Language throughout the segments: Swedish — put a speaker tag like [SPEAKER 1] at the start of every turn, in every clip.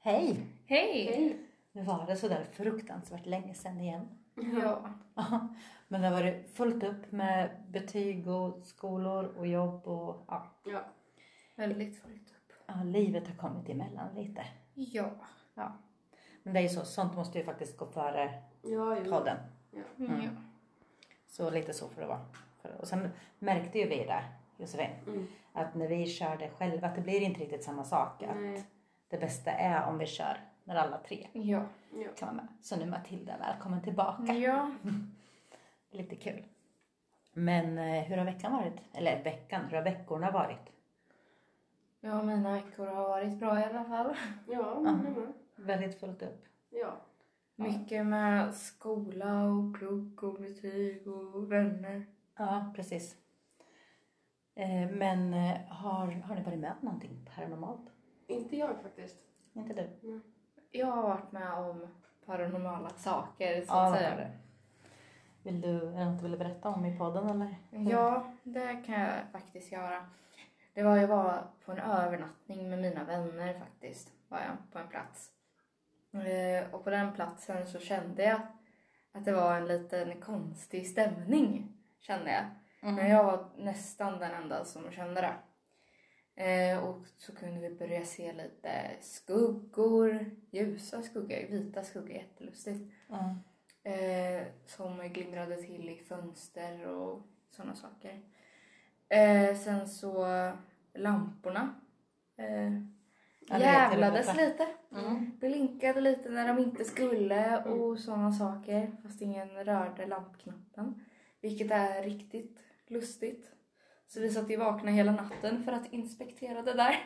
[SPEAKER 1] Hej!
[SPEAKER 2] Hej!
[SPEAKER 1] Nu var det sådär fruktansvärt länge sedan igen.
[SPEAKER 2] Ja.
[SPEAKER 1] Ja, Men det har varit fullt upp med betyg och skolor och jobb och ja,
[SPEAKER 3] Ja.
[SPEAKER 2] Väldigt fullt upp.
[SPEAKER 1] ja livet har kommit emellan lite.
[SPEAKER 2] Ja.
[SPEAKER 1] Ja. Men det är ju så, sånt måste ju faktiskt gå före
[SPEAKER 3] Ja, jo.
[SPEAKER 1] podden.
[SPEAKER 3] Ja.
[SPEAKER 2] Mm. ja.
[SPEAKER 1] Så lite så får det vara. För- Och sen märkte ju vi det, Josefin,
[SPEAKER 3] Mm.
[SPEAKER 1] att när vi kör det själva, att det blir inte riktigt samma sak. Att
[SPEAKER 3] Nej.
[SPEAKER 1] det bästa är om vi kör när alla tre
[SPEAKER 2] Ja.
[SPEAKER 3] Ja.
[SPEAKER 1] kan vara med. Så nu Matilda, välkommen tillbaka.
[SPEAKER 2] ja.
[SPEAKER 1] Lite kul. Men eh, hur har veckan varit? Eller veckan, hur har veckorna varit?
[SPEAKER 2] Ja, mina veckor har varit bra i alla fall.
[SPEAKER 3] Ja,
[SPEAKER 1] Ja.
[SPEAKER 3] det var-
[SPEAKER 1] Väldigt fullt upp.
[SPEAKER 3] ja.
[SPEAKER 2] Mycket med skola och plugg och betyg och vänner.
[SPEAKER 1] Ja, precis. Eh, Men eh, har, har ni varit med om någonting paranormalt?
[SPEAKER 3] Inte jag faktiskt.
[SPEAKER 1] Inte du?
[SPEAKER 2] Jag har varit med om paranormala saker så
[SPEAKER 1] Ja,
[SPEAKER 2] att
[SPEAKER 1] det har
[SPEAKER 2] säga.
[SPEAKER 1] du. Vill du, är det något du ville berätta om i podden eller?
[SPEAKER 2] Ja, det kan jag faktiskt göra. Det var jag var på en övernattning med mina vänner faktiskt. Var jag på en plats. Eh, Och på den platsen så kände jag att det var en liten konstig stämning. Kände jag. Men
[SPEAKER 1] Mm.
[SPEAKER 2] jag var nästan den enda som kände det. Eh, och så kunde vi börja se lite skuggor, ljusa skuggor, vita skuggor, jättelustigt.
[SPEAKER 1] Ja.
[SPEAKER 2] Eh, som glimrade till i fönster och sådana saker. Eh, sen så lamporna eh,
[SPEAKER 1] Ja, det Mm.
[SPEAKER 2] jävlades
[SPEAKER 1] vet jag,
[SPEAKER 2] lite. Blinkade lite när de inte skulle
[SPEAKER 1] Mm.
[SPEAKER 2] och sådana saker. Fast ingen rörde lampknappen. Vilket är riktigt lustigt. Så vi satt ju vakna hela natten för att inspektera det där.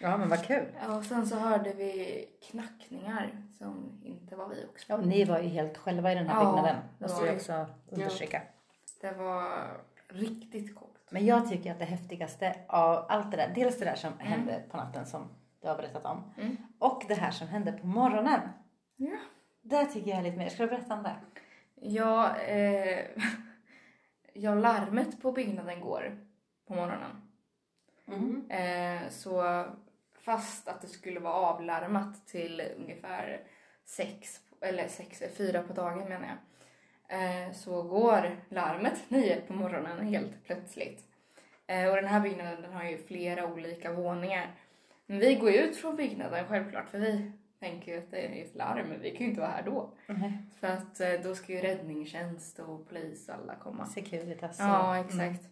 [SPEAKER 1] ja, men vad kul.
[SPEAKER 2] Ja, Och sen så hörde vi knackningar som inte var vi också.
[SPEAKER 1] Ja, och ni var ju helt själva i den här
[SPEAKER 2] Ja,
[SPEAKER 1] byggnaden.
[SPEAKER 2] det
[SPEAKER 1] Måste
[SPEAKER 2] var
[SPEAKER 1] vi
[SPEAKER 2] vi.
[SPEAKER 1] också understryka.
[SPEAKER 2] Det var riktigt coolt.
[SPEAKER 1] Men jag tycker att det häftigaste av allt det där, dels det där som hände på natten som du har berättat om.
[SPEAKER 2] Mm.
[SPEAKER 1] Och det här som hände på morgonen.
[SPEAKER 2] Ja.
[SPEAKER 1] Det tycker jag är lite mer. Ska du berätta om det?
[SPEAKER 2] Ja, eh, ja, larmet på byggnaden går på morgonen.
[SPEAKER 1] Mm.
[SPEAKER 2] Eh, så fast att det skulle vara avlarmat till ungefär sex, eller sex, eh, fyra på dagen menar jag. Eh, så går larmet nio på morgonen helt plötsligt. Eh, och den här byggnaden den har ju flera olika våningar. Men vi går ju ut från byggnaden självklart för vi tänker ju att det är ett larm, men vi kan ju inte vara här då.
[SPEAKER 1] Nej.
[SPEAKER 2] För att eh, då ska ju räddningstjänst och polis och alla komma.
[SPEAKER 1] Securitas.
[SPEAKER 2] Ja, exakt.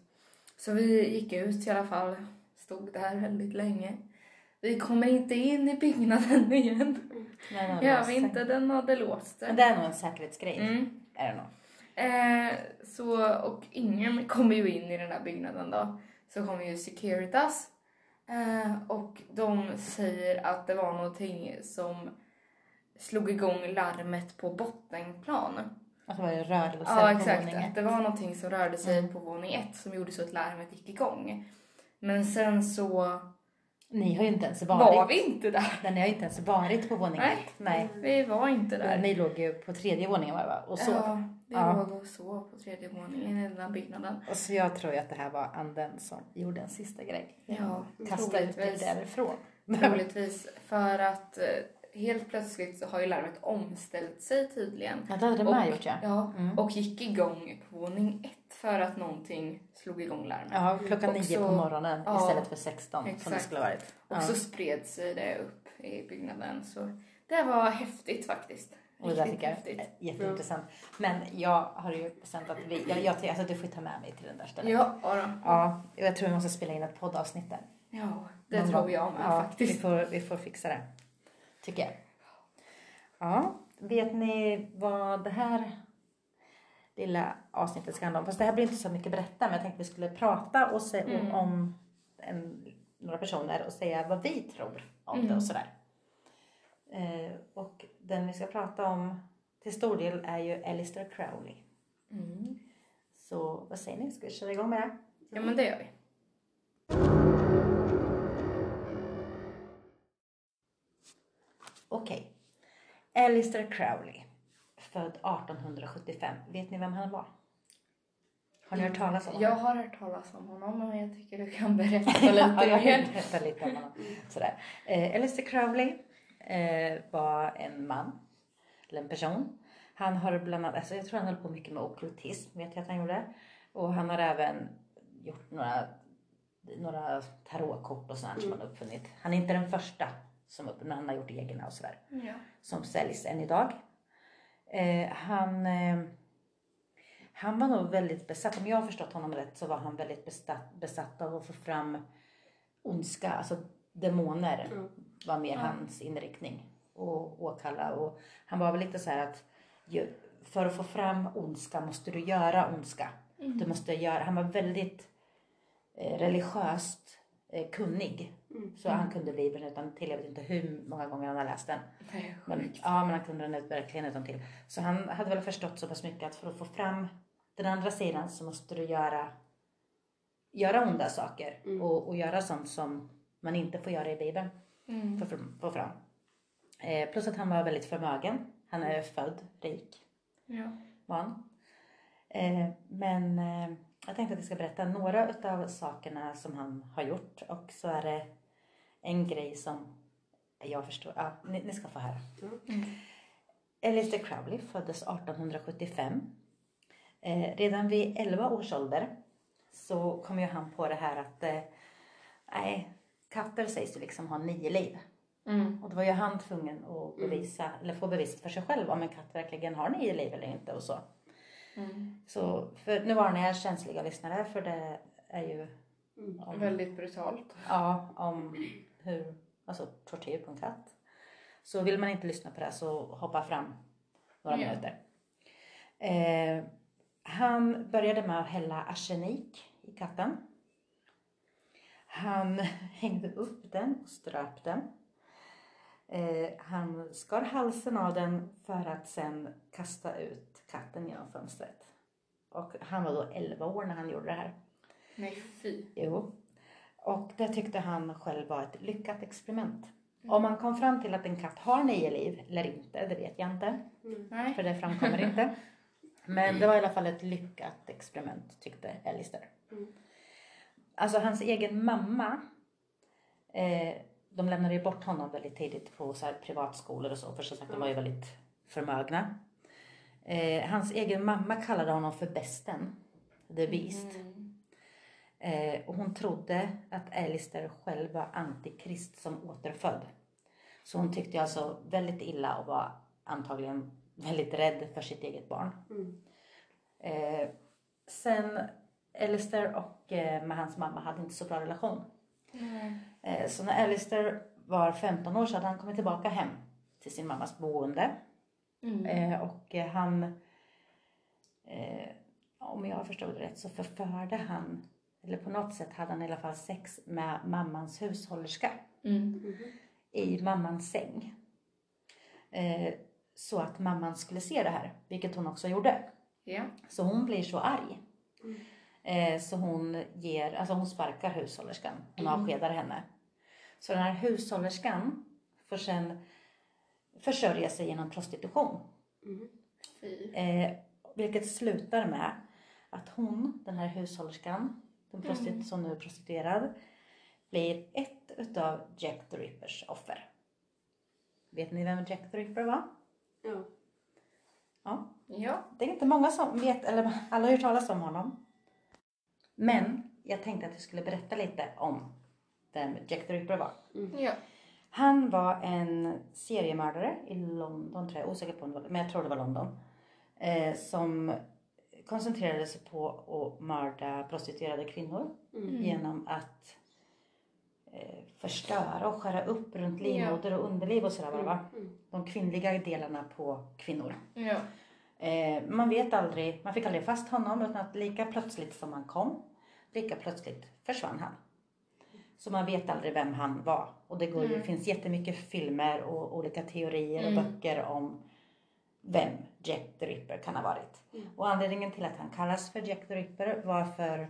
[SPEAKER 2] Så vi gick ut i alla fall. Stod där väldigt länge. Vi kommer inte in i byggnaden igen.
[SPEAKER 1] Nej, nej,
[SPEAKER 2] Gör
[SPEAKER 1] nej,
[SPEAKER 2] vi
[SPEAKER 1] säkert.
[SPEAKER 2] inte, den hade låst
[SPEAKER 1] Men
[SPEAKER 2] sig.
[SPEAKER 1] det är nog en säkerhetsgrej.
[SPEAKER 2] Mm.
[SPEAKER 1] Är det nog.
[SPEAKER 2] Eh, så, och ingen kommer ju in i den där byggnaden då. Så kommer ju Securitas. Eh, och de säger att det var någonting som slog igång larmet på bottenplan.
[SPEAKER 1] Att det var ju rörelser
[SPEAKER 2] Ja
[SPEAKER 1] på
[SPEAKER 2] exakt,
[SPEAKER 1] våningen.
[SPEAKER 2] att det var någonting som rörde sig
[SPEAKER 1] Mm.
[SPEAKER 2] på våning ett som gjorde så att larmet gick igång. Men sen så
[SPEAKER 1] Ni har ju inte ens varit.
[SPEAKER 2] var vi inte där.
[SPEAKER 1] Nej, ni har ju inte ens varit på våning
[SPEAKER 2] Nej.
[SPEAKER 1] ett. Nej.
[SPEAKER 3] Mm.
[SPEAKER 2] Vi var inte där.
[SPEAKER 1] Ni låg ju på tredje våningen var det va? Och så.
[SPEAKER 2] Ja, vi
[SPEAKER 1] Ja.
[SPEAKER 2] låg och sov på tredje våningen i den där byggnaden.
[SPEAKER 1] Och så jag tror ju att det här var anden som gjorde en sista grej.
[SPEAKER 2] Ja,
[SPEAKER 1] Kasta ut dig
[SPEAKER 2] troligtvis.
[SPEAKER 1] därifrån.
[SPEAKER 2] Troligtvis för att eh, helt plötsligt så har ju larmet omställt sig tydligen.
[SPEAKER 1] Ja, det hade
[SPEAKER 2] Och-
[SPEAKER 1] man gjort ja.
[SPEAKER 2] Ja,
[SPEAKER 1] Mm.
[SPEAKER 2] och gick igång på våning ett för att någonting slog igång larmet.
[SPEAKER 1] Ja, klockan
[SPEAKER 2] Och
[SPEAKER 1] nio
[SPEAKER 2] så-
[SPEAKER 1] på morgonen
[SPEAKER 2] ja,
[SPEAKER 1] istället för 16 som det
[SPEAKER 2] exakt.
[SPEAKER 1] skulle ha varit.
[SPEAKER 2] Och
[SPEAKER 1] Ja.
[SPEAKER 2] så spred sig det upp i byggnaden. Så det var häftigt faktiskt.
[SPEAKER 1] Och det där
[SPEAKER 2] Riktigt
[SPEAKER 1] tycker jag
[SPEAKER 2] häftigt.
[SPEAKER 1] är jätteintressant. Men jag har ju bestämt att vi, jag, jag, tycker- alltså, du får ta med mig till den där stället.
[SPEAKER 2] Ja, ja, då.
[SPEAKER 1] Ja, och jag tror vi måste spela in ett poddavsnitt där.
[SPEAKER 2] ja det
[SPEAKER 1] Någon
[SPEAKER 2] tror
[SPEAKER 1] gång.
[SPEAKER 2] jag med
[SPEAKER 1] ja, Vi
[SPEAKER 2] faktiskt.
[SPEAKER 1] får, vi får fixa det. Tycker jag. Ja, vet ni vad det här lilla avsnittet ska handla om? Fast det här blir inte så mycket berätta, men jag tänkte vi skulle prata och se,
[SPEAKER 2] Mm.
[SPEAKER 1] om en, några personer och säga vad vi tror om det
[SPEAKER 2] Mm.
[SPEAKER 1] och sådär. Eh, och den vi ska prata om till stor del är ju Alistair Crowley.
[SPEAKER 2] Mm.
[SPEAKER 1] Så vad säger ni, ska vi köra igång med det?
[SPEAKER 2] Ja, men det gör vi.
[SPEAKER 1] Okej. Alistair Crowley, född 1875. Vet ni vem han var? Har ni hört talas om honom?
[SPEAKER 2] Jag har hört talas om honom men jag tycker du kan berätta
[SPEAKER 1] Ja,
[SPEAKER 2] lite
[SPEAKER 1] jag har
[SPEAKER 2] mer.
[SPEAKER 1] hört lite om honom. Sådär. Eh, Alistair Crowley eh, var en man, eller en person. Han har bland annat, alltså jag tror han höll på mycket med okkultism, vet jag att han gjorde. Och han har även gjort några, några tarotkort och sånt som
[SPEAKER 2] Mm.
[SPEAKER 1] han har uppfunnit. Han är inte den första som uppfunnit, men han har gjort egna och sådär
[SPEAKER 2] Ja.
[SPEAKER 1] som säljs än idag. Eh, han, eh, han var nog väldigt besatt, om jag har förstått honom rätt så var han väldigt besatt, besatt av att få fram ondska, alltså demoner
[SPEAKER 3] Mm.
[SPEAKER 1] var mer
[SPEAKER 2] Ja.
[SPEAKER 1] hans inriktning och åkalla och han var väl lite så här att ju, för att få fram ondska måste du göra ondska. Du måste göra, han var väldigt eh, religiöst eh, kunnig
[SPEAKER 3] Mm.
[SPEAKER 1] så han kunde Bibeln utan till, jag vet inte hur många gånger han har läst den.
[SPEAKER 2] Nej,
[SPEAKER 1] Men,
[SPEAKER 2] sjukt.
[SPEAKER 1] ja, men han kunde den ut verkligen utan till. Så han hade väl förstått så pass mycket att för att få fram den andra sidan så måste du göra, göra onda saker
[SPEAKER 3] Mm.
[SPEAKER 1] och, och göra sånt som man inte får göra i Bibeln för
[SPEAKER 2] Mm.
[SPEAKER 1] att få- få fram. Eh, plus att han var väldigt förmögen. Han är född rik
[SPEAKER 2] Ja.
[SPEAKER 1] var han. Eh, men eh, jag tänkte att jag ska berätta några utav sakerna som han har gjort och så är det en grej som jag förstår. Ja, ni, ni ska få höra.
[SPEAKER 3] Mm.
[SPEAKER 1] Alistair Crowley föddes 1875. Eh, redan vid 11 års ålder så kom ju han på det här att eh, nej, katter sägs ju liksom ha nio liv.
[SPEAKER 2] Mm.
[SPEAKER 1] Och då var ju han tvungen att bevisa, eller få bevisat för sig själv om en katt verkligen har nio liv eller inte och så.
[SPEAKER 2] Mm.
[SPEAKER 1] Så för, nu var ni här känsliga lyssnare för det är ju
[SPEAKER 3] Mm.
[SPEAKER 1] om,
[SPEAKER 2] Väldigt brutalt.
[SPEAKER 1] ja, om hur, alltså tortyr på en katt. Så vill man inte lyssna på det här så hoppa fram några
[SPEAKER 2] Ja.
[SPEAKER 1] minuter. Eh, han började med att hälla arsenik i katten. Han hängde upp den och ströp den. Eh, han skar halsen av den för att sen kasta ut katten genom fönstret. Och han var då 11 år när han gjorde det här.
[SPEAKER 2] Nej, fy.
[SPEAKER 1] Jo. Och det tyckte han själv var ett lyckat experiment. Om man kom fram till att en katt har nio liv eller inte, det vet jag inte,
[SPEAKER 3] Mm.
[SPEAKER 2] Nej.
[SPEAKER 1] för det framkommer inte. Men det var i alla fall ett lyckat experiment tyckte Alistair.
[SPEAKER 3] Mm.
[SPEAKER 1] Alltså hans egen mamma, eh, de lämnade ju bort honom väldigt tidigt på så här privatskolor och så, för som sagt de var ju väldigt förmögna. Eh, hans egen mamma kallade honom för besten, the beast.
[SPEAKER 2] Mm.
[SPEAKER 1] Eh, och hon trodde att Alistair själv var antikrist som återfödd. Så hon tyckte ju alltså väldigt illa och var antagligen väldigt rädd för sitt eget barn.
[SPEAKER 3] Mm.
[SPEAKER 1] Eh, sen Alistair och eh, med hans mamma hade inte så bra relation.
[SPEAKER 2] Nej.
[SPEAKER 1] Eh, så när Alistair var 15 år så hade han kommit tillbaka hem till sin mammas boende.
[SPEAKER 2] Mm.
[SPEAKER 1] Eh, och eh, han, eh, om jag förstod det rätt, så förförde han, eller på något sätt hade han i alla fall sex med mammans hushållerska
[SPEAKER 2] Mm.
[SPEAKER 3] Mhm.
[SPEAKER 1] i mammans säng. Eh, så att mamman skulle se det här, vilket hon också gjorde.
[SPEAKER 2] Ja.
[SPEAKER 1] Så hon blir så arg.
[SPEAKER 3] Mm.
[SPEAKER 1] Eh, så hon, ger, alltså hon sparkar hushållerskan. Hon
[SPEAKER 2] Mm.
[SPEAKER 1] avskedar henne. Så den här hushållerskan får sen försörja sig genom prostitution.
[SPEAKER 3] Mhm.
[SPEAKER 2] Fy.
[SPEAKER 1] Eh, vilket slutar med att hon, den här hushållerskan, den prostit-
[SPEAKER 2] Mm.
[SPEAKER 1] som nu är prostituerad, blir ett utav Jack the Rippers offer. Vet ni vem Jack the Ripper var?
[SPEAKER 3] Ja.
[SPEAKER 1] Ja.
[SPEAKER 2] Ja.
[SPEAKER 1] Det är inte många som vet, eller alla har hört talas om honom. Men jag tänkte att jag skulle berätta lite om vem Jack the Ripper var.
[SPEAKER 2] Ja.
[SPEAKER 1] Han var en seriemördare i London, tror jag. Osäker på om det var, men jag tror det var London. Eh, som koncentrerade sig på att mörda prostituerade kvinnor
[SPEAKER 3] Mm.
[SPEAKER 1] genom att eh, förstöra och skära upp runt livmoder och underliv och sådär. Mm.
[SPEAKER 3] Mm.
[SPEAKER 1] De kvinnliga delarna på kvinnor.
[SPEAKER 2] Ja.
[SPEAKER 1] Eh, man vet aldrig, man fick aldrig fast honom utan att lika plötsligt som han kom, lika plötsligt försvann han. Så man vet aldrig vem han var. Och det går ju,
[SPEAKER 2] Mm.
[SPEAKER 1] finns jättemycket filmer och olika teorier och
[SPEAKER 2] Mm.
[SPEAKER 1] böcker om vem Jack the Ripper kan ha varit.
[SPEAKER 3] Mm.
[SPEAKER 1] Och anledningen till att han kallas för Jack the Ripper var för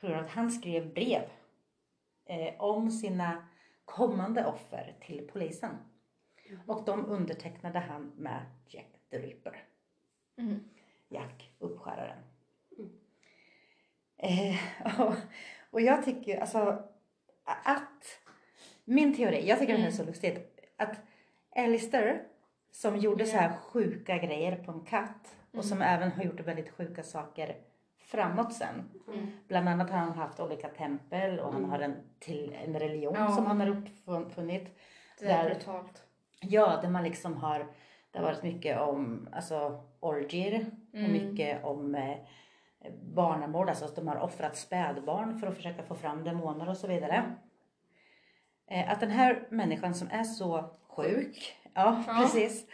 [SPEAKER 1] på grund av att han skrev brev eh, om sina kommande offer till polisen. Och de undertecknade han med Jack the Ripper.
[SPEAKER 2] Mm.
[SPEAKER 1] Jack, uppskäraren.
[SPEAKER 3] Mm.
[SPEAKER 1] Eh, och, och jag tycker
[SPEAKER 2] Mm.
[SPEAKER 1] ju, alltså a- att min teori, jag tycker det här är så lustigt, att Alistair som gjorde så här
[SPEAKER 2] Ja.
[SPEAKER 1] sjuka grejer på en katt och som även har gjort väldigt sjuka saker framåt sen.
[SPEAKER 2] Mm.
[SPEAKER 1] Bland annat har han haft olika tempel och han har en, till, en religion
[SPEAKER 2] Ja.
[SPEAKER 1] som han har uppfunnit.
[SPEAKER 2] Det är
[SPEAKER 1] Där-
[SPEAKER 2] brutalt.
[SPEAKER 1] Ja, där man liksom har, det har varit mycket om alltså orgier och
[SPEAKER 2] Mm.
[SPEAKER 1] mycket om eh, barnamord, alltså att de har offrat spädbarn för att försöka få fram demoner och så vidare. Eh, att den här människan som är så sjuk, ja,
[SPEAKER 2] Ja.
[SPEAKER 1] precis,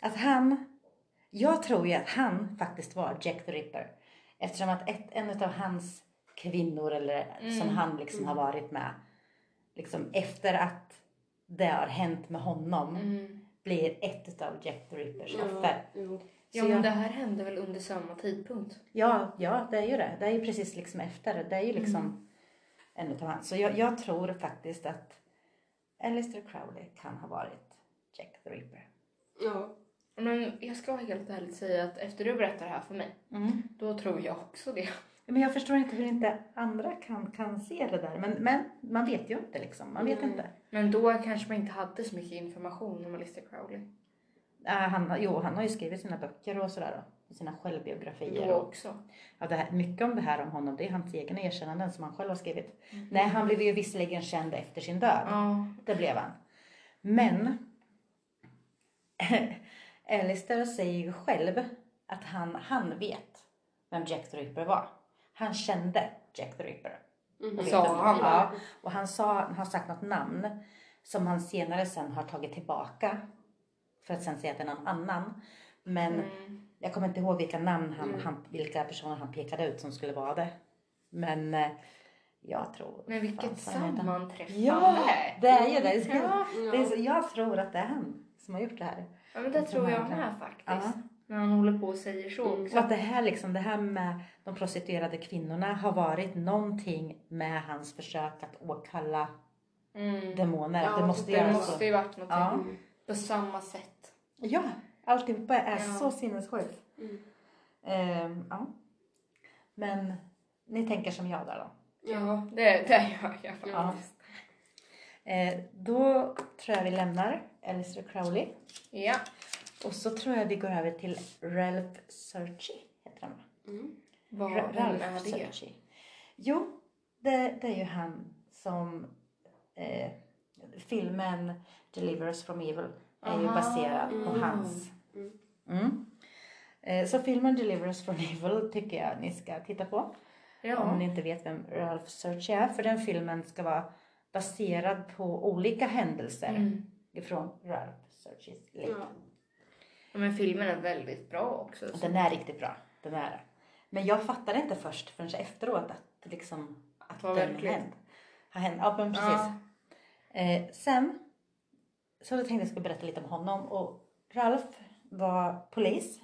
[SPEAKER 1] att han, jag tror ju att han faktiskt var Jack the Ripper. Eftersom att ett, en av hans kvinnor eller som
[SPEAKER 2] Mm.
[SPEAKER 1] han liksom har varit med, liksom efter att det har hänt med honom
[SPEAKER 2] Mm.
[SPEAKER 1] blir ett av Jack the Rippers offer.
[SPEAKER 3] jo.
[SPEAKER 2] Ja,
[SPEAKER 1] Så
[SPEAKER 2] men
[SPEAKER 1] jag-
[SPEAKER 2] det här hände väl under samma tidpunkt?
[SPEAKER 1] Ja, ja, det är ju det. Det är ju precis liksom efter. Det är ju liksom
[SPEAKER 2] Mm.
[SPEAKER 1] en utav hans. Så jag, jag tror faktiskt att Alistair Crowley kan ha varit Jack the Ripper.
[SPEAKER 3] Ja.
[SPEAKER 2] Men jag ska helt ärligt säga att efter du berättar det här för mig, då tror jag också det.
[SPEAKER 1] Men jag förstår inte hur inte andra kan, kan se det där. Men, men man vet ju inte liksom. Man vet
[SPEAKER 3] Nej.
[SPEAKER 1] inte.
[SPEAKER 2] Men då kanske man inte hade så mycket information om Alistair Crowley.
[SPEAKER 1] Äh, han, har- jo, han har ju skrivit sina böcker och sådär. Och sina självbiografier.
[SPEAKER 2] Då
[SPEAKER 1] Och,
[SPEAKER 2] också.
[SPEAKER 1] ja, det här, mycket om det här om honom, det är hans egna erkännanden som han själv har skrivit.
[SPEAKER 3] Mm.
[SPEAKER 2] Mhm.
[SPEAKER 1] Nej, han blev ju visserligen känd efter sin död.
[SPEAKER 2] Ja.
[SPEAKER 1] Det blev han. Men Alistair säger ju själv att han, han vet vem Jack the Ripper var. Han kände Jack the Ripper.
[SPEAKER 3] Mhm.
[SPEAKER 1] Och
[SPEAKER 2] Sa
[SPEAKER 1] vet att-
[SPEAKER 2] han det?
[SPEAKER 1] Ja, och han sa, han har sagt något namn som han senare sen har tagit tillbaka för att sen säga att det är någon annan. Men
[SPEAKER 2] Mm.
[SPEAKER 1] jag kommer inte ihåg vilka namn han,
[SPEAKER 3] Mm.
[SPEAKER 1] han, vilka personer han pekade ut som skulle vara det. Men eh, jag tror... fan,
[SPEAKER 2] Men vilket
[SPEAKER 1] fan heter han?
[SPEAKER 2] sammanträffande!
[SPEAKER 1] Ja, det är ju det.
[SPEAKER 2] Ja,
[SPEAKER 1] Det är så, jag tror att det är han som har gjort det här.
[SPEAKER 2] ja men det tror jag med
[SPEAKER 1] Ja.
[SPEAKER 2] faktiskt. När han håller på och säger så
[SPEAKER 3] Mm.
[SPEAKER 1] Så
[SPEAKER 2] också.
[SPEAKER 1] att det här, liksom, det här med de prostituerade kvinnorna har varit någonting med hans försök att åkalla
[SPEAKER 2] Mm.
[SPEAKER 1] demoner.
[SPEAKER 3] Ja,
[SPEAKER 1] det måste
[SPEAKER 3] det
[SPEAKER 1] göra
[SPEAKER 2] Det
[SPEAKER 1] så.
[SPEAKER 2] måste ju varit någonting.
[SPEAKER 1] Ja.
[SPEAKER 3] Mm.
[SPEAKER 2] På samma sätt.
[SPEAKER 1] Ja, alltihopa är
[SPEAKER 2] Ja.
[SPEAKER 1] så sinnessjukt.
[SPEAKER 3] Mm.
[SPEAKER 1] Ehm, ja. Men ni tänker som jag där då.
[SPEAKER 3] Ja.
[SPEAKER 2] Det, det gör jag faktiskt.
[SPEAKER 1] Ja. Eh, då tror jag vi lämnar Alistair Crowley.
[SPEAKER 2] Ja.
[SPEAKER 1] Och så tror jag vi går över till Ralph Searchy. Heter han va?
[SPEAKER 3] Mm.
[SPEAKER 2] Vad
[SPEAKER 1] Ra-
[SPEAKER 2] vem är
[SPEAKER 1] Ralph
[SPEAKER 2] det?
[SPEAKER 1] Searchy. Jo, det, det är ju han som eh, filmen Deliver us from evil är ju
[SPEAKER 2] Aha.
[SPEAKER 1] baserad på
[SPEAKER 3] Mm.
[SPEAKER 1] hans.
[SPEAKER 3] Mm.
[SPEAKER 1] Mm. Eh, så filmen Deliver us from evil tycker jag ni ska titta på om
[SPEAKER 2] Ja.
[SPEAKER 1] ni inte vet vem Ralph Searchy är. För den filmen ska vara baserad på olika händelser
[SPEAKER 2] Mm.
[SPEAKER 1] ifrån Ralph Searchys liv.
[SPEAKER 3] Ja.
[SPEAKER 2] Ja, Men filmen är väldigt bra också. så-
[SPEAKER 1] Den är riktigt bra. Den är det. Men jag fattade inte först förrän efteråt att, liksom, att
[SPEAKER 2] Det var
[SPEAKER 1] den
[SPEAKER 2] verkligt.
[SPEAKER 1] hänt. Har hänt. Ja, men precis.
[SPEAKER 2] Ja.
[SPEAKER 1] Eh, sen så då tänkte jag skulle berätta lite om honom. Och Ralf var polis.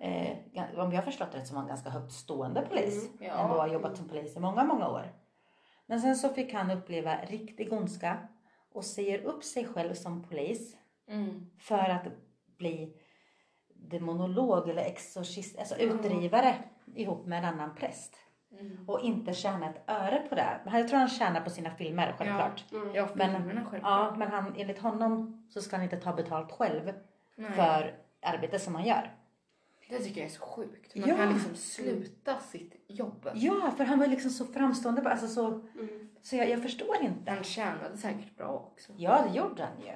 [SPEAKER 1] Eh, gan- om jag har förstått det rätt så var han ganska högt stående polis.
[SPEAKER 3] Mm,
[SPEAKER 2] ja.
[SPEAKER 1] Ändå har jobbat som polis i många, många år. Men sen så fick han uppleva riktig ondska och säger upp sig själv som polis
[SPEAKER 2] Mm.
[SPEAKER 1] för att bli demonolog eller exorcist, alltså utdrivare ihop med en annan präst.
[SPEAKER 2] Mm.
[SPEAKER 1] Och inte tjäna ett öre på det. Men Jag tror han tjänar på sina filmer självklart.
[SPEAKER 3] Mm.
[SPEAKER 2] Ja,
[SPEAKER 1] Men-
[SPEAKER 2] filmerna
[SPEAKER 1] Ja,
[SPEAKER 2] självklart.
[SPEAKER 1] men han, enligt honom så ska han inte ta betalt själv
[SPEAKER 2] Nej.
[SPEAKER 1] för arbete som han gör.
[SPEAKER 2] Det tycker jag är så sjukt. Man
[SPEAKER 1] Ja.
[SPEAKER 2] kan liksom sluta sitt jobb.
[SPEAKER 1] Ja, för han var liksom så framstående. bara, Alltså så,
[SPEAKER 3] Mm.
[SPEAKER 1] så jag, jag förstår inte.
[SPEAKER 2] Den tjänade säkert bra också.
[SPEAKER 1] Ja, det gjorde han ju.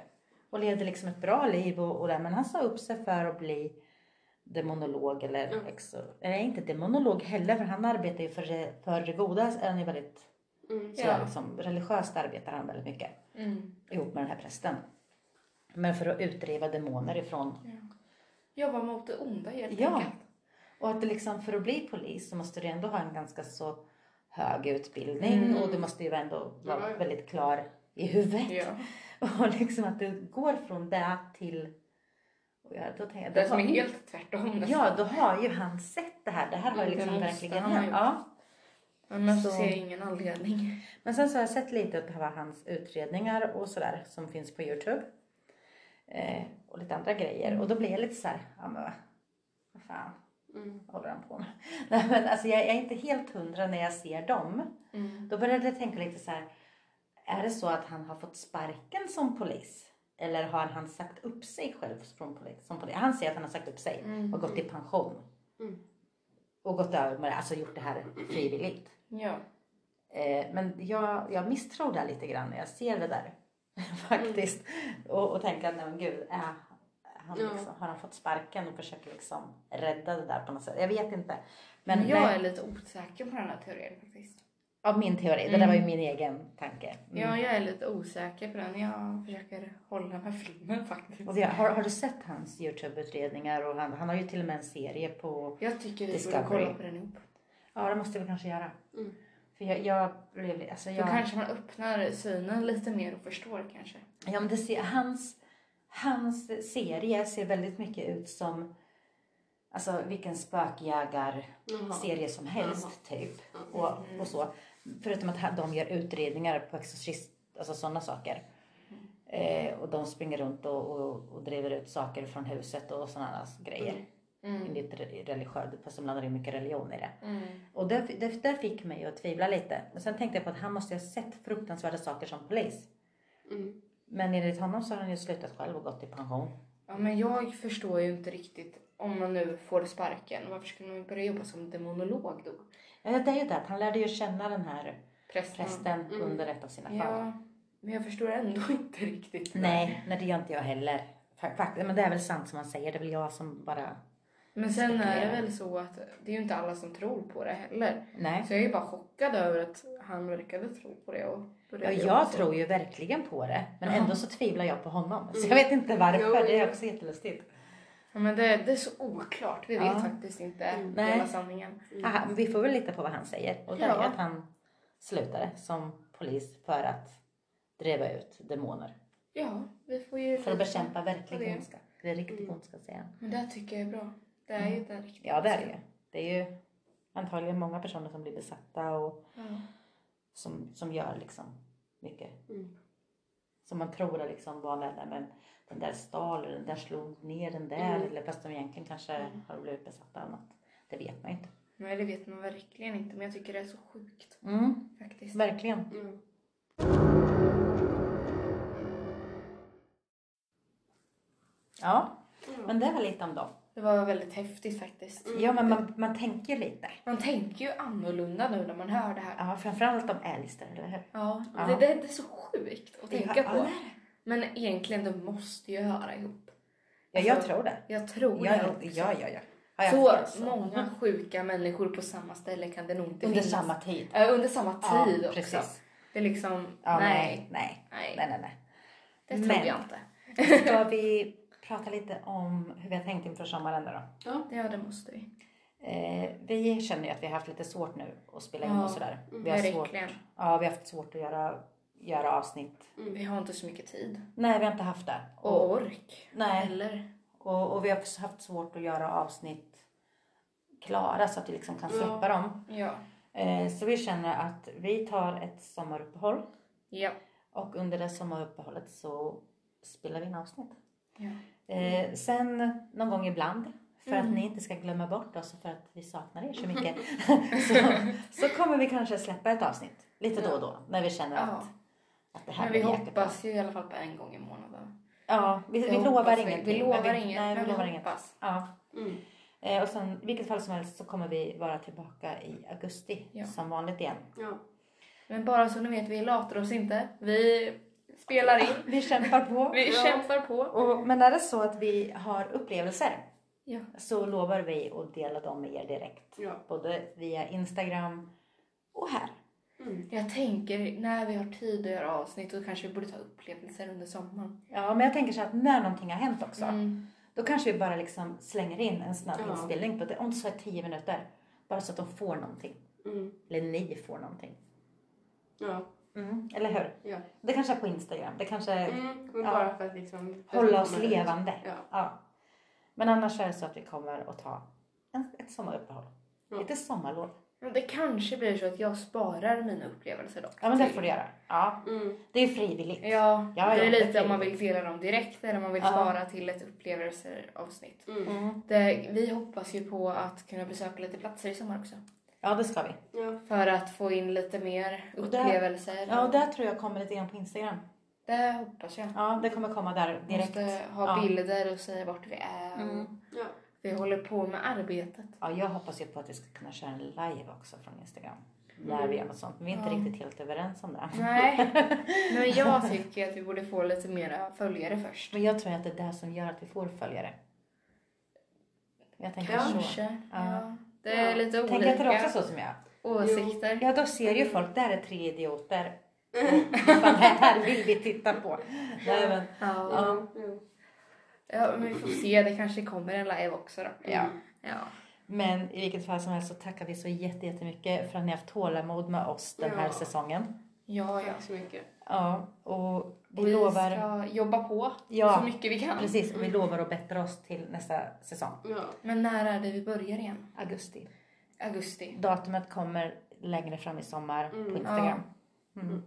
[SPEAKER 1] Och levde liksom ett bra liv och, och det. Men han sa upp sig för att bli demonolog eller
[SPEAKER 3] Mm.
[SPEAKER 1] exor... Nej, inte demonolog heller för han arbetar ju för, det- för det goda. Är han ju väldigt
[SPEAKER 3] Mm.
[SPEAKER 1] så
[SPEAKER 2] Ja.
[SPEAKER 1] liksom, religiöst arbetar han väldigt mycket
[SPEAKER 2] Mm.
[SPEAKER 1] ihop med den här prästen. Men för att utdriva demoner ifrån.
[SPEAKER 2] Jobba mot det onda helt
[SPEAKER 1] Ja.
[SPEAKER 2] enkelt.
[SPEAKER 1] Och att det liksom, för att bli polis så måste du ändå ha en ganska så hög utbildning
[SPEAKER 2] Mm.
[SPEAKER 1] och du måste ju ändå vara
[SPEAKER 3] Ja.
[SPEAKER 1] väldigt klar i huvudet.
[SPEAKER 2] Ja.
[SPEAKER 1] Och liksom att du går från det till... Och jag, då tänker jag,
[SPEAKER 2] Det som är
[SPEAKER 1] då-
[SPEAKER 2] helt tvärtom nästan.
[SPEAKER 1] Ja, då har ju han sett det här. Det här har ju
[SPEAKER 2] Mm, det
[SPEAKER 1] liksom
[SPEAKER 2] måste
[SPEAKER 1] verkligen
[SPEAKER 2] han ha
[SPEAKER 1] hänt.
[SPEAKER 2] gjort.
[SPEAKER 1] Ja.
[SPEAKER 2] Annars
[SPEAKER 1] Så-
[SPEAKER 2] ser jag ingen anledning.
[SPEAKER 1] Men sen så har jag sett lite på hans utredningar och sådär som finns på Youtube. Eh, och lite andra grejer. Och då blir jag lite så här, ja men vad- vad fan
[SPEAKER 3] Mm.
[SPEAKER 1] håller han på med? Nej men alltså jag, jag är inte helt hundra när jag ser dem.
[SPEAKER 2] Mm.
[SPEAKER 1] Då började jag tänka lite så här, är det så att han har fått sparken som polis? eller har han sagt upp sig själv från polit- som polis? Han säger att han har sagt upp sig
[SPEAKER 2] Mm.
[SPEAKER 1] och gått i pension.
[SPEAKER 3] Mm.
[SPEAKER 1] Och gått över med det, alltså gjort det här frivilligt.
[SPEAKER 2] Ja.
[SPEAKER 1] Eh, men jag, jag misstror det här lite grann när jag ser det där. Faktiskt.
[SPEAKER 2] Mm.
[SPEAKER 1] Och, och tänker att nej men gud, äh, han
[SPEAKER 3] Ja.
[SPEAKER 1] liksom, har han fått sparken och försöker liksom rädda det där på något sätt? Jag vet inte. Men,
[SPEAKER 2] Men jag
[SPEAKER 1] nej,
[SPEAKER 2] är lite osäker på den här teorin faktiskt.
[SPEAKER 1] av min teori, det där var ju
[SPEAKER 2] Mm.
[SPEAKER 1] min egen tanke. Mm.
[SPEAKER 2] Ja, jag är lite osäker på den. Jag försöker hålla med filmen faktiskt.
[SPEAKER 1] Och det, Alltså, har, har du sett hans Youtube-utredningar? Och han, han har ju till och med en serie på...
[SPEAKER 2] Jag tycker vi
[SPEAKER 1] Discovery.
[SPEAKER 2] borde kolla på den ihop.
[SPEAKER 1] Ja, det måste vi kanske göra.
[SPEAKER 3] Mm.
[SPEAKER 1] För jag, jag blev... Alltså
[SPEAKER 2] Då
[SPEAKER 1] jag,
[SPEAKER 2] kanske man öppnar synen lite mer och förstår kanske.
[SPEAKER 1] Ja, men det ser, hans, hans serie ser väldigt mycket ut som alltså, vilken spökjägarserie
[SPEAKER 3] Jaha.
[SPEAKER 1] som helst typ.
[SPEAKER 3] Ja.
[SPEAKER 1] Och, och så. Förutom att ha- de gör utredningar på exorcist, alltså sådana saker.
[SPEAKER 3] Mm.
[SPEAKER 1] Eh, och de springer runt och, och, och driver ut saker från huset och sådana grejer. Mm.
[SPEAKER 2] Mm.
[SPEAKER 1] Enligt re- religiöst, fast de blandar in mycket religion i det.
[SPEAKER 2] Mm.
[SPEAKER 1] Och det, det, det fick mig att tvivla lite. Och sen tänkte jag på att han måste ju ha sett fruktansvärda saker som polis.
[SPEAKER 3] Mm.
[SPEAKER 1] Men enligt honom så har han ju slutat själv och gått i pension.
[SPEAKER 2] Ja, men jag förstår ju inte riktigt om man nu får sparken. Varför skulle man börja jobba som demonolog då?
[SPEAKER 1] Ja, det är ju det att han lärde ju känna den här
[SPEAKER 2] Prästen.
[SPEAKER 1] prästen
[SPEAKER 3] Mm.
[SPEAKER 1] under ett av sina fall.
[SPEAKER 2] Ja, men jag förstår ändå inte riktigt.
[SPEAKER 1] Nej, nej det gör inte jag heller. Fa- Faktiskt, men det är väl sant som han säger, det är väl jag som bara...
[SPEAKER 2] Men sen är det väl så att det är ju inte alla som tror på det heller.
[SPEAKER 1] Nej.
[SPEAKER 2] Så jag är ju bara chockad över att han verkade tro på det. Och
[SPEAKER 1] Ja,
[SPEAKER 2] började jobba
[SPEAKER 1] jag
[SPEAKER 2] så.
[SPEAKER 1] tror ju verkligen på det, men
[SPEAKER 2] Jaha.
[SPEAKER 1] ändå så tvivlar jag på honom. Så jag
[SPEAKER 3] Mm.
[SPEAKER 1] vet inte varför,
[SPEAKER 3] Jo,
[SPEAKER 1] det är
[SPEAKER 3] jo.
[SPEAKER 1] också jättelustigt.
[SPEAKER 2] Ja, men det, det är så oklart. Vi
[SPEAKER 1] Ja.
[SPEAKER 2] vet faktiskt inte
[SPEAKER 3] Mm.
[SPEAKER 2] hela
[SPEAKER 1] Nej.
[SPEAKER 2] sanningen.
[SPEAKER 3] Mm.
[SPEAKER 1] Aha, men vi får väl lita på vad han säger. Och det är
[SPEAKER 2] Ja.
[SPEAKER 1] ju att han slutade som polis för att driva ut demoner.
[SPEAKER 2] Ja, vi får ju...
[SPEAKER 1] För att
[SPEAKER 2] lita.
[SPEAKER 1] bekämpa
[SPEAKER 2] det.
[SPEAKER 1] verklig ondska. Det är riktigt
[SPEAKER 3] Mm.
[SPEAKER 1] ondska säger han.
[SPEAKER 2] Men det här tycker jag är bra. Det är
[SPEAKER 1] Mm.
[SPEAKER 2] ju den riktiga.
[SPEAKER 1] Ja, det är det ju. Det är ju antagligen många personer som blir besatta och
[SPEAKER 2] Ja.
[SPEAKER 1] som, som gör liksom mycket
[SPEAKER 3] Mm.
[SPEAKER 1] som man tror är liksom vanliga där, men den där stal eller den där slog ner den där
[SPEAKER 3] Mm.
[SPEAKER 1] eller fast de egentligen kanske har blivit besatta av något. Det vet man ju inte.
[SPEAKER 2] Nej, det vet man verkligen inte. Men jag tycker det är så sjukt
[SPEAKER 1] Mm,
[SPEAKER 2] faktiskt.
[SPEAKER 1] verkligen.
[SPEAKER 3] Mm.
[SPEAKER 1] Ja,
[SPEAKER 3] Ja.
[SPEAKER 1] men det var lite om dem.
[SPEAKER 2] Det var väldigt häftigt faktiskt.
[SPEAKER 3] Mm.
[SPEAKER 1] Ja, men man, man tänker lite.
[SPEAKER 2] Man tänker ju annorlunda nu när man hör det här.
[SPEAKER 1] Ja, framförallt om älgstar, eller hur?
[SPEAKER 2] Ja,
[SPEAKER 1] Ja.
[SPEAKER 2] Det, det, det är så sjukt att tänka
[SPEAKER 1] Ja,
[SPEAKER 2] på. Men egentligen, de måste ju höra ihop.
[SPEAKER 1] Ja, jag tror det.
[SPEAKER 2] Jag tror
[SPEAKER 1] Ja,
[SPEAKER 2] det
[SPEAKER 1] ja,
[SPEAKER 2] också.
[SPEAKER 1] ja. ja, ja. Har jag
[SPEAKER 2] så
[SPEAKER 1] fel
[SPEAKER 2] många sjuka människor på samma ställe kan det nog inte
[SPEAKER 1] Under
[SPEAKER 2] finnas.
[SPEAKER 1] samma tid.
[SPEAKER 2] Ja, under samma tid
[SPEAKER 1] ja,
[SPEAKER 2] också.
[SPEAKER 1] precis.
[SPEAKER 2] Det är liksom,
[SPEAKER 1] Ja,
[SPEAKER 2] nej,
[SPEAKER 1] nej,
[SPEAKER 2] nej,
[SPEAKER 1] nej, nej, nej.
[SPEAKER 2] det tror
[SPEAKER 1] Men-
[SPEAKER 2] jag inte.
[SPEAKER 1] Ska vi prata lite om hur vi har tänkt inför sommaren då?
[SPEAKER 2] Ja, det måste vi.
[SPEAKER 1] Eh, vi känner ju att vi har haft lite svårt nu att spela in
[SPEAKER 2] Ja,
[SPEAKER 1] och sådär.
[SPEAKER 3] mm,
[SPEAKER 1] Vi har, svårt,
[SPEAKER 2] Verkligen.
[SPEAKER 1] ja, vi har haft svårt att göra, göra avsnitt.
[SPEAKER 2] Vi har inte så mycket tid.
[SPEAKER 1] Nej, vi har inte haft det.
[SPEAKER 2] Och ork.
[SPEAKER 1] nej,
[SPEAKER 2] Eller?
[SPEAKER 1] och, och vi har också haft svårt att göra avsnitt klara så att vi liksom kan släppa
[SPEAKER 3] Ja.
[SPEAKER 1] dem.
[SPEAKER 2] Ja.
[SPEAKER 1] Eh, så vi känner att vi tar ett sommaruppehåll
[SPEAKER 2] Ja.
[SPEAKER 1] och under det sommaruppehållet så spelar vi in avsnitt.
[SPEAKER 2] ja.
[SPEAKER 1] Eh, sen någon gång ibland, för
[SPEAKER 2] Mm.
[SPEAKER 1] att ni inte ska glömma bort oss och för att vi saknar er så mycket, så, så kommer vi kanske släppa ett avsnitt lite då och då när vi känner
[SPEAKER 2] ja.
[SPEAKER 1] att, att det här
[SPEAKER 2] Men vi
[SPEAKER 1] blir jäkligt
[SPEAKER 2] hoppas ju i alla fall på en gång i månaden.
[SPEAKER 1] bra. Ja, vi,
[SPEAKER 2] Det
[SPEAKER 1] vi
[SPEAKER 2] hoppas
[SPEAKER 1] lovar
[SPEAKER 2] vi.
[SPEAKER 1] ingenting.
[SPEAKER 2] Vi lovar
[SPEAKER 1] men
[SPEAKER 2] inget.
[SPEAKER 1] Nej, vi
[SPEAKER 2] men vi
[SPEAKER 1] lovar inget.
[SPEAKER 2] hoppas.
[SPEAKER 1] Ja.
[SPEAKER 3] Mm.
[SPEAKER 1] Eh, och sen, i vilket fall som helst så kommer vi vara tillbaka i augusti
[SPEAKER 2] Ja.
[SPEAKER 1] som vanligt igen.
[SPEAKER 3] Ja.
[SPEAKER 2] Men bara så ni vet, vi latar oss inte. Vi spelar in.
[SPEAKER 1] Vi kämpar på.
[SPEAKER 2] Vi
[SPEAKER 3] Ja.
[SPEAKER 2] kämpar på.
[SPEAKER 1] Och, men är det så att vi har upplevelser
[SPEAKER 2] Ja.
[SPEAKER 1] så lovar vi att dela dem med er direkt.
[SPEAKER 3] Ja.
[SPEAKER 1] Både via Instagram och här.
[SPEAKER 3] Mm.
[SPEAKER 2] Jag tänker när vi har tid att göra avsnitt då kanske vi borde ta upplevelser under sommaren.
[SPEAKER 1] Ja, men jag tänker så att när någonting har hänt också,
[SPEAKER 2] Mm.
[SPEAKER 1] då kanske vi bara liksom slänger in en snabb
[SPEAKER 3] Ja.
[SPEAKER 1] inspelning på det. Om det så är tio minuter. Bara så att de får någonting.
[SPEAKER 3] Mm.
[SPEAKER 1] Eller ni får någonting. Mm,
[SPEAKER 3] Ja.
[SPEAKER 1] Eller hur?
[SPEAKER 3] Ja.
[SPEAKER 1] Det kanske är på Instagram. Det kanske är
[SPEAKER 3] Mm. Men
[SPEAKER 1] Äh. Ja.
[SPEAKER 3] bara för att liksom...
[SPEAKER 1] hålla oss levande.
[SPEAKER 3] Ja.
[SPEAKER 1] Men annars är det så att vi kommer att ta en, ett sommaruppehåll.
[SPEAKER 3] Ja.
[SPEAKER 1] Lite sommarlov.
[SPEAKER 2] Men det kanske blir så att jag sparar mina upplevelser dock.
[SPEAKER 1] Ja, men det
[SPEAKER 3] Typ.
[SPEAKER 2] till-
[SPEAKER 1] får du göra. Ja,
[SPEAKER 3] Mm.
[SPEAKER 1] det är frivilligt.
[SPEAKER 2] Ja,
[SPEAKER 1] Ja,
[SPEAKER 2] det
[SPEAKER 1] ja, det
[SPEAKER 2] är lite
[SPEAKER 1] blir
[SPEAKER 2] om man
[SPEAKER 1] det.
[SPEAKER 2] vill dela dem direkt eller om man vill
[SPEAKER 1] Ja.
[SPEAKER 2] spara till ett upplevelseavsnitt.
[SPEAKER 3] Mm.
[SPEAKER 1] Mm.
[SPEAKER 2] Det, vi hoppas ju på att kunna besöka lite platser i sommar också.
[SPEAKER 1] Ja, det ska vi.
[SPEAKER 3] Ja.
[SPEAKER 2] För att få in lite mer
[SPEAKER 1] Och där-
[SPEAKER 2] upplevelser.
[SPEAKER 1] Ja, och där tror jag kommer lite grann på Instagram.
[SPEAKER 2] Det hoppas jag.
[SPEAKER 1] Ja, det kommer komma där
[SPEAKER 2] Vi
[SPEAKER 1] direkt.
[SPEAKER 2] måste ha
[SPEAKER 1] Ja.
[SPEAKER 2] bilder och säga vart vi är. och
[SPEAKER 1] Mm.
[SPEAKER 3] Ja.
[SPEAKER 2] Vi håller på med arbetet.
[SPEAKER 1] Ja, jag hoppas ju på att vi ska kunna köra en live också från Instagram. När vi gör något sånt. Men vi är inte
[SPEAKER 2] Ja.
[SPEAKER 1] riktigt helt överens om det.
[SPEAKER 2] Nej, men jag tycker att vi borde få lite mera följare först.
[SPEAKER 1] Men jag tror att det är det som gör att vi får följare. Jag tänker så.
[SPEAKER 2] Kanske.
[SPEAKER 1] Ja.
[SPEAKER 2] Ja. Det är lite
[SPEAKER 1] Tänker inte du
[SPEAKER 2] olika
[SPEAKER 1] också så som jag?
[SPEAKER 2] åsikter.
[SPEAKER 1] Ja, då ser ju folk, där är tre idioter. Fan, det här vill vi titta på. Nej, men,
[SPEAKER 2] Ja.
[SPEAKER 3] Ja. Jo.
[SPEAKER 2] ja, men vi får se. Det kanske kommer en live också då.
[SPEAKER 1] ja.
[SPEAKER 2] Ja.
[SPEAKER 1] men i vilket fall som helst så tackar vi så jätte- jättemycket för att ni har haft tålamod med oss den här
[SPEAKER 3] Ja.
[SPEAKER 1] säsongen.
[SPEAKER 2] Ja, ja.
[SPEAKER 3] Tack så mycket.
[SPEAKER 1] Ja, och vi
[SPEAKER 2] Vi
[SPEAKER 1] lovar.
[SPEAKER 2] ska jobba på
[SPEAKER 1] Ja.
[SPEAKER 2] så mycket vi kan.
[SPEAKER 1] Precis, och vi lovar att bättra oss till nästa säsong.
[SPEAKER 3] Ja.
[SPEAKER 2] Men när är det vi börjar igen?
[SPEAKER 1] Augusti.
[SPEAKER 2] Augusti.
[SPEAKER 1] Datumet kommer längre fram i sommar på
[SPEAKER 3] Mm.
[SPEAKER 1] Instagram. Mm.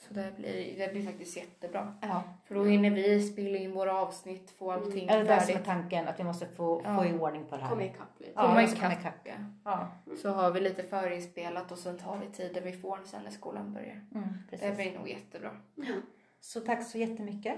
[SPEAKER 2] Så det blir, det blir faktiskt jättebra.
[SPEAKER 1] Ja.
[SPEAKER 2] För då hinner vi spela in våra avsnitt, få allting
[SPEAKER 1] Är det där som är
[SPEAKER 2] färdigt.
[SPEAKER 1] tanken, att vi måste få, få
[SPEAKER 2] Ja.
[SPEAKER 1] i ordning på det här.
[SPEAKER 3] Kom ikapp lite.
[SPEAKER 1] Ja,
[SPEAKER 2] Komma
[SPEAKER 1] och så kommer
[SPEAKER 2] ikapp.
[SPEAKER 1] ikapp. Ja,
[SPEAKER 2] Så har vi lite förinspelat och sen tar vi tiden vi får sen när skolan börjar.
[SPEAKER 1] mm,
[SPEAKER 2] Det
[SPEAKER 1] precis.
[SPEAKER 2] blir nog jättebra.
[SPEAKER 3] Mm.
[SPEAKER 1] Så tack så jättemycket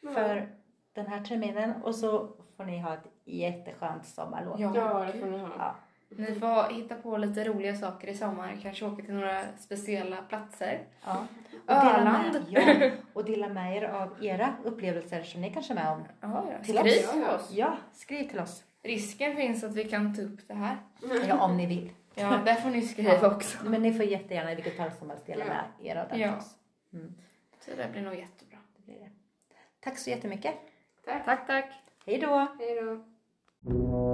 [SPEAKER 3] Ja.
[SPEAKER 1] för den här terminen och så får ni ha ett jätteskönt sommarlov.
[SPEAKER 3] Ja, det får ni ha. Mm.
[SPEAKER 1] Ja.
[SPEAKER 2] Ni får hitta på lite roliga saker i sommar. Kanske åka till några speciella platser.
[SPEAKER 1] Ja.
[SPEAKER 2] Öland.
[SPEAKER 1] Dela med, ja, och dela med er av era upplevelser som ni kanske är med om.
[SPEAKER 2] Ja, ja.
[SPEAKER 1] Till oss.
[SPEAKER 2] Skriv till oss.
[SPEAKER 1] Ja, skriv till oss.
[SPEAKER 2] Risken finns att vi kan ta upp det här.
[SPEAKER 1] Ja, om ni vill.
[SPEAKER 2] Ja, där får ni skriva också.
[SPEAKER 1] Men ni får jättegärna i vilket fall som helst dela med er av den till
[SPEAKER 2] Ja.
[SPEAKER 1] oss.
[SPEAKER 2] Så det blir nog jättebra.
[SPEAKER 1] Det blir det. Tack så jättemycket.
[SPEAKER 3] Tack.
[SPEAKER 2] Tack, tack.
[SPEAKER 1] Hej då!
[SPEAKER 3] Hej då.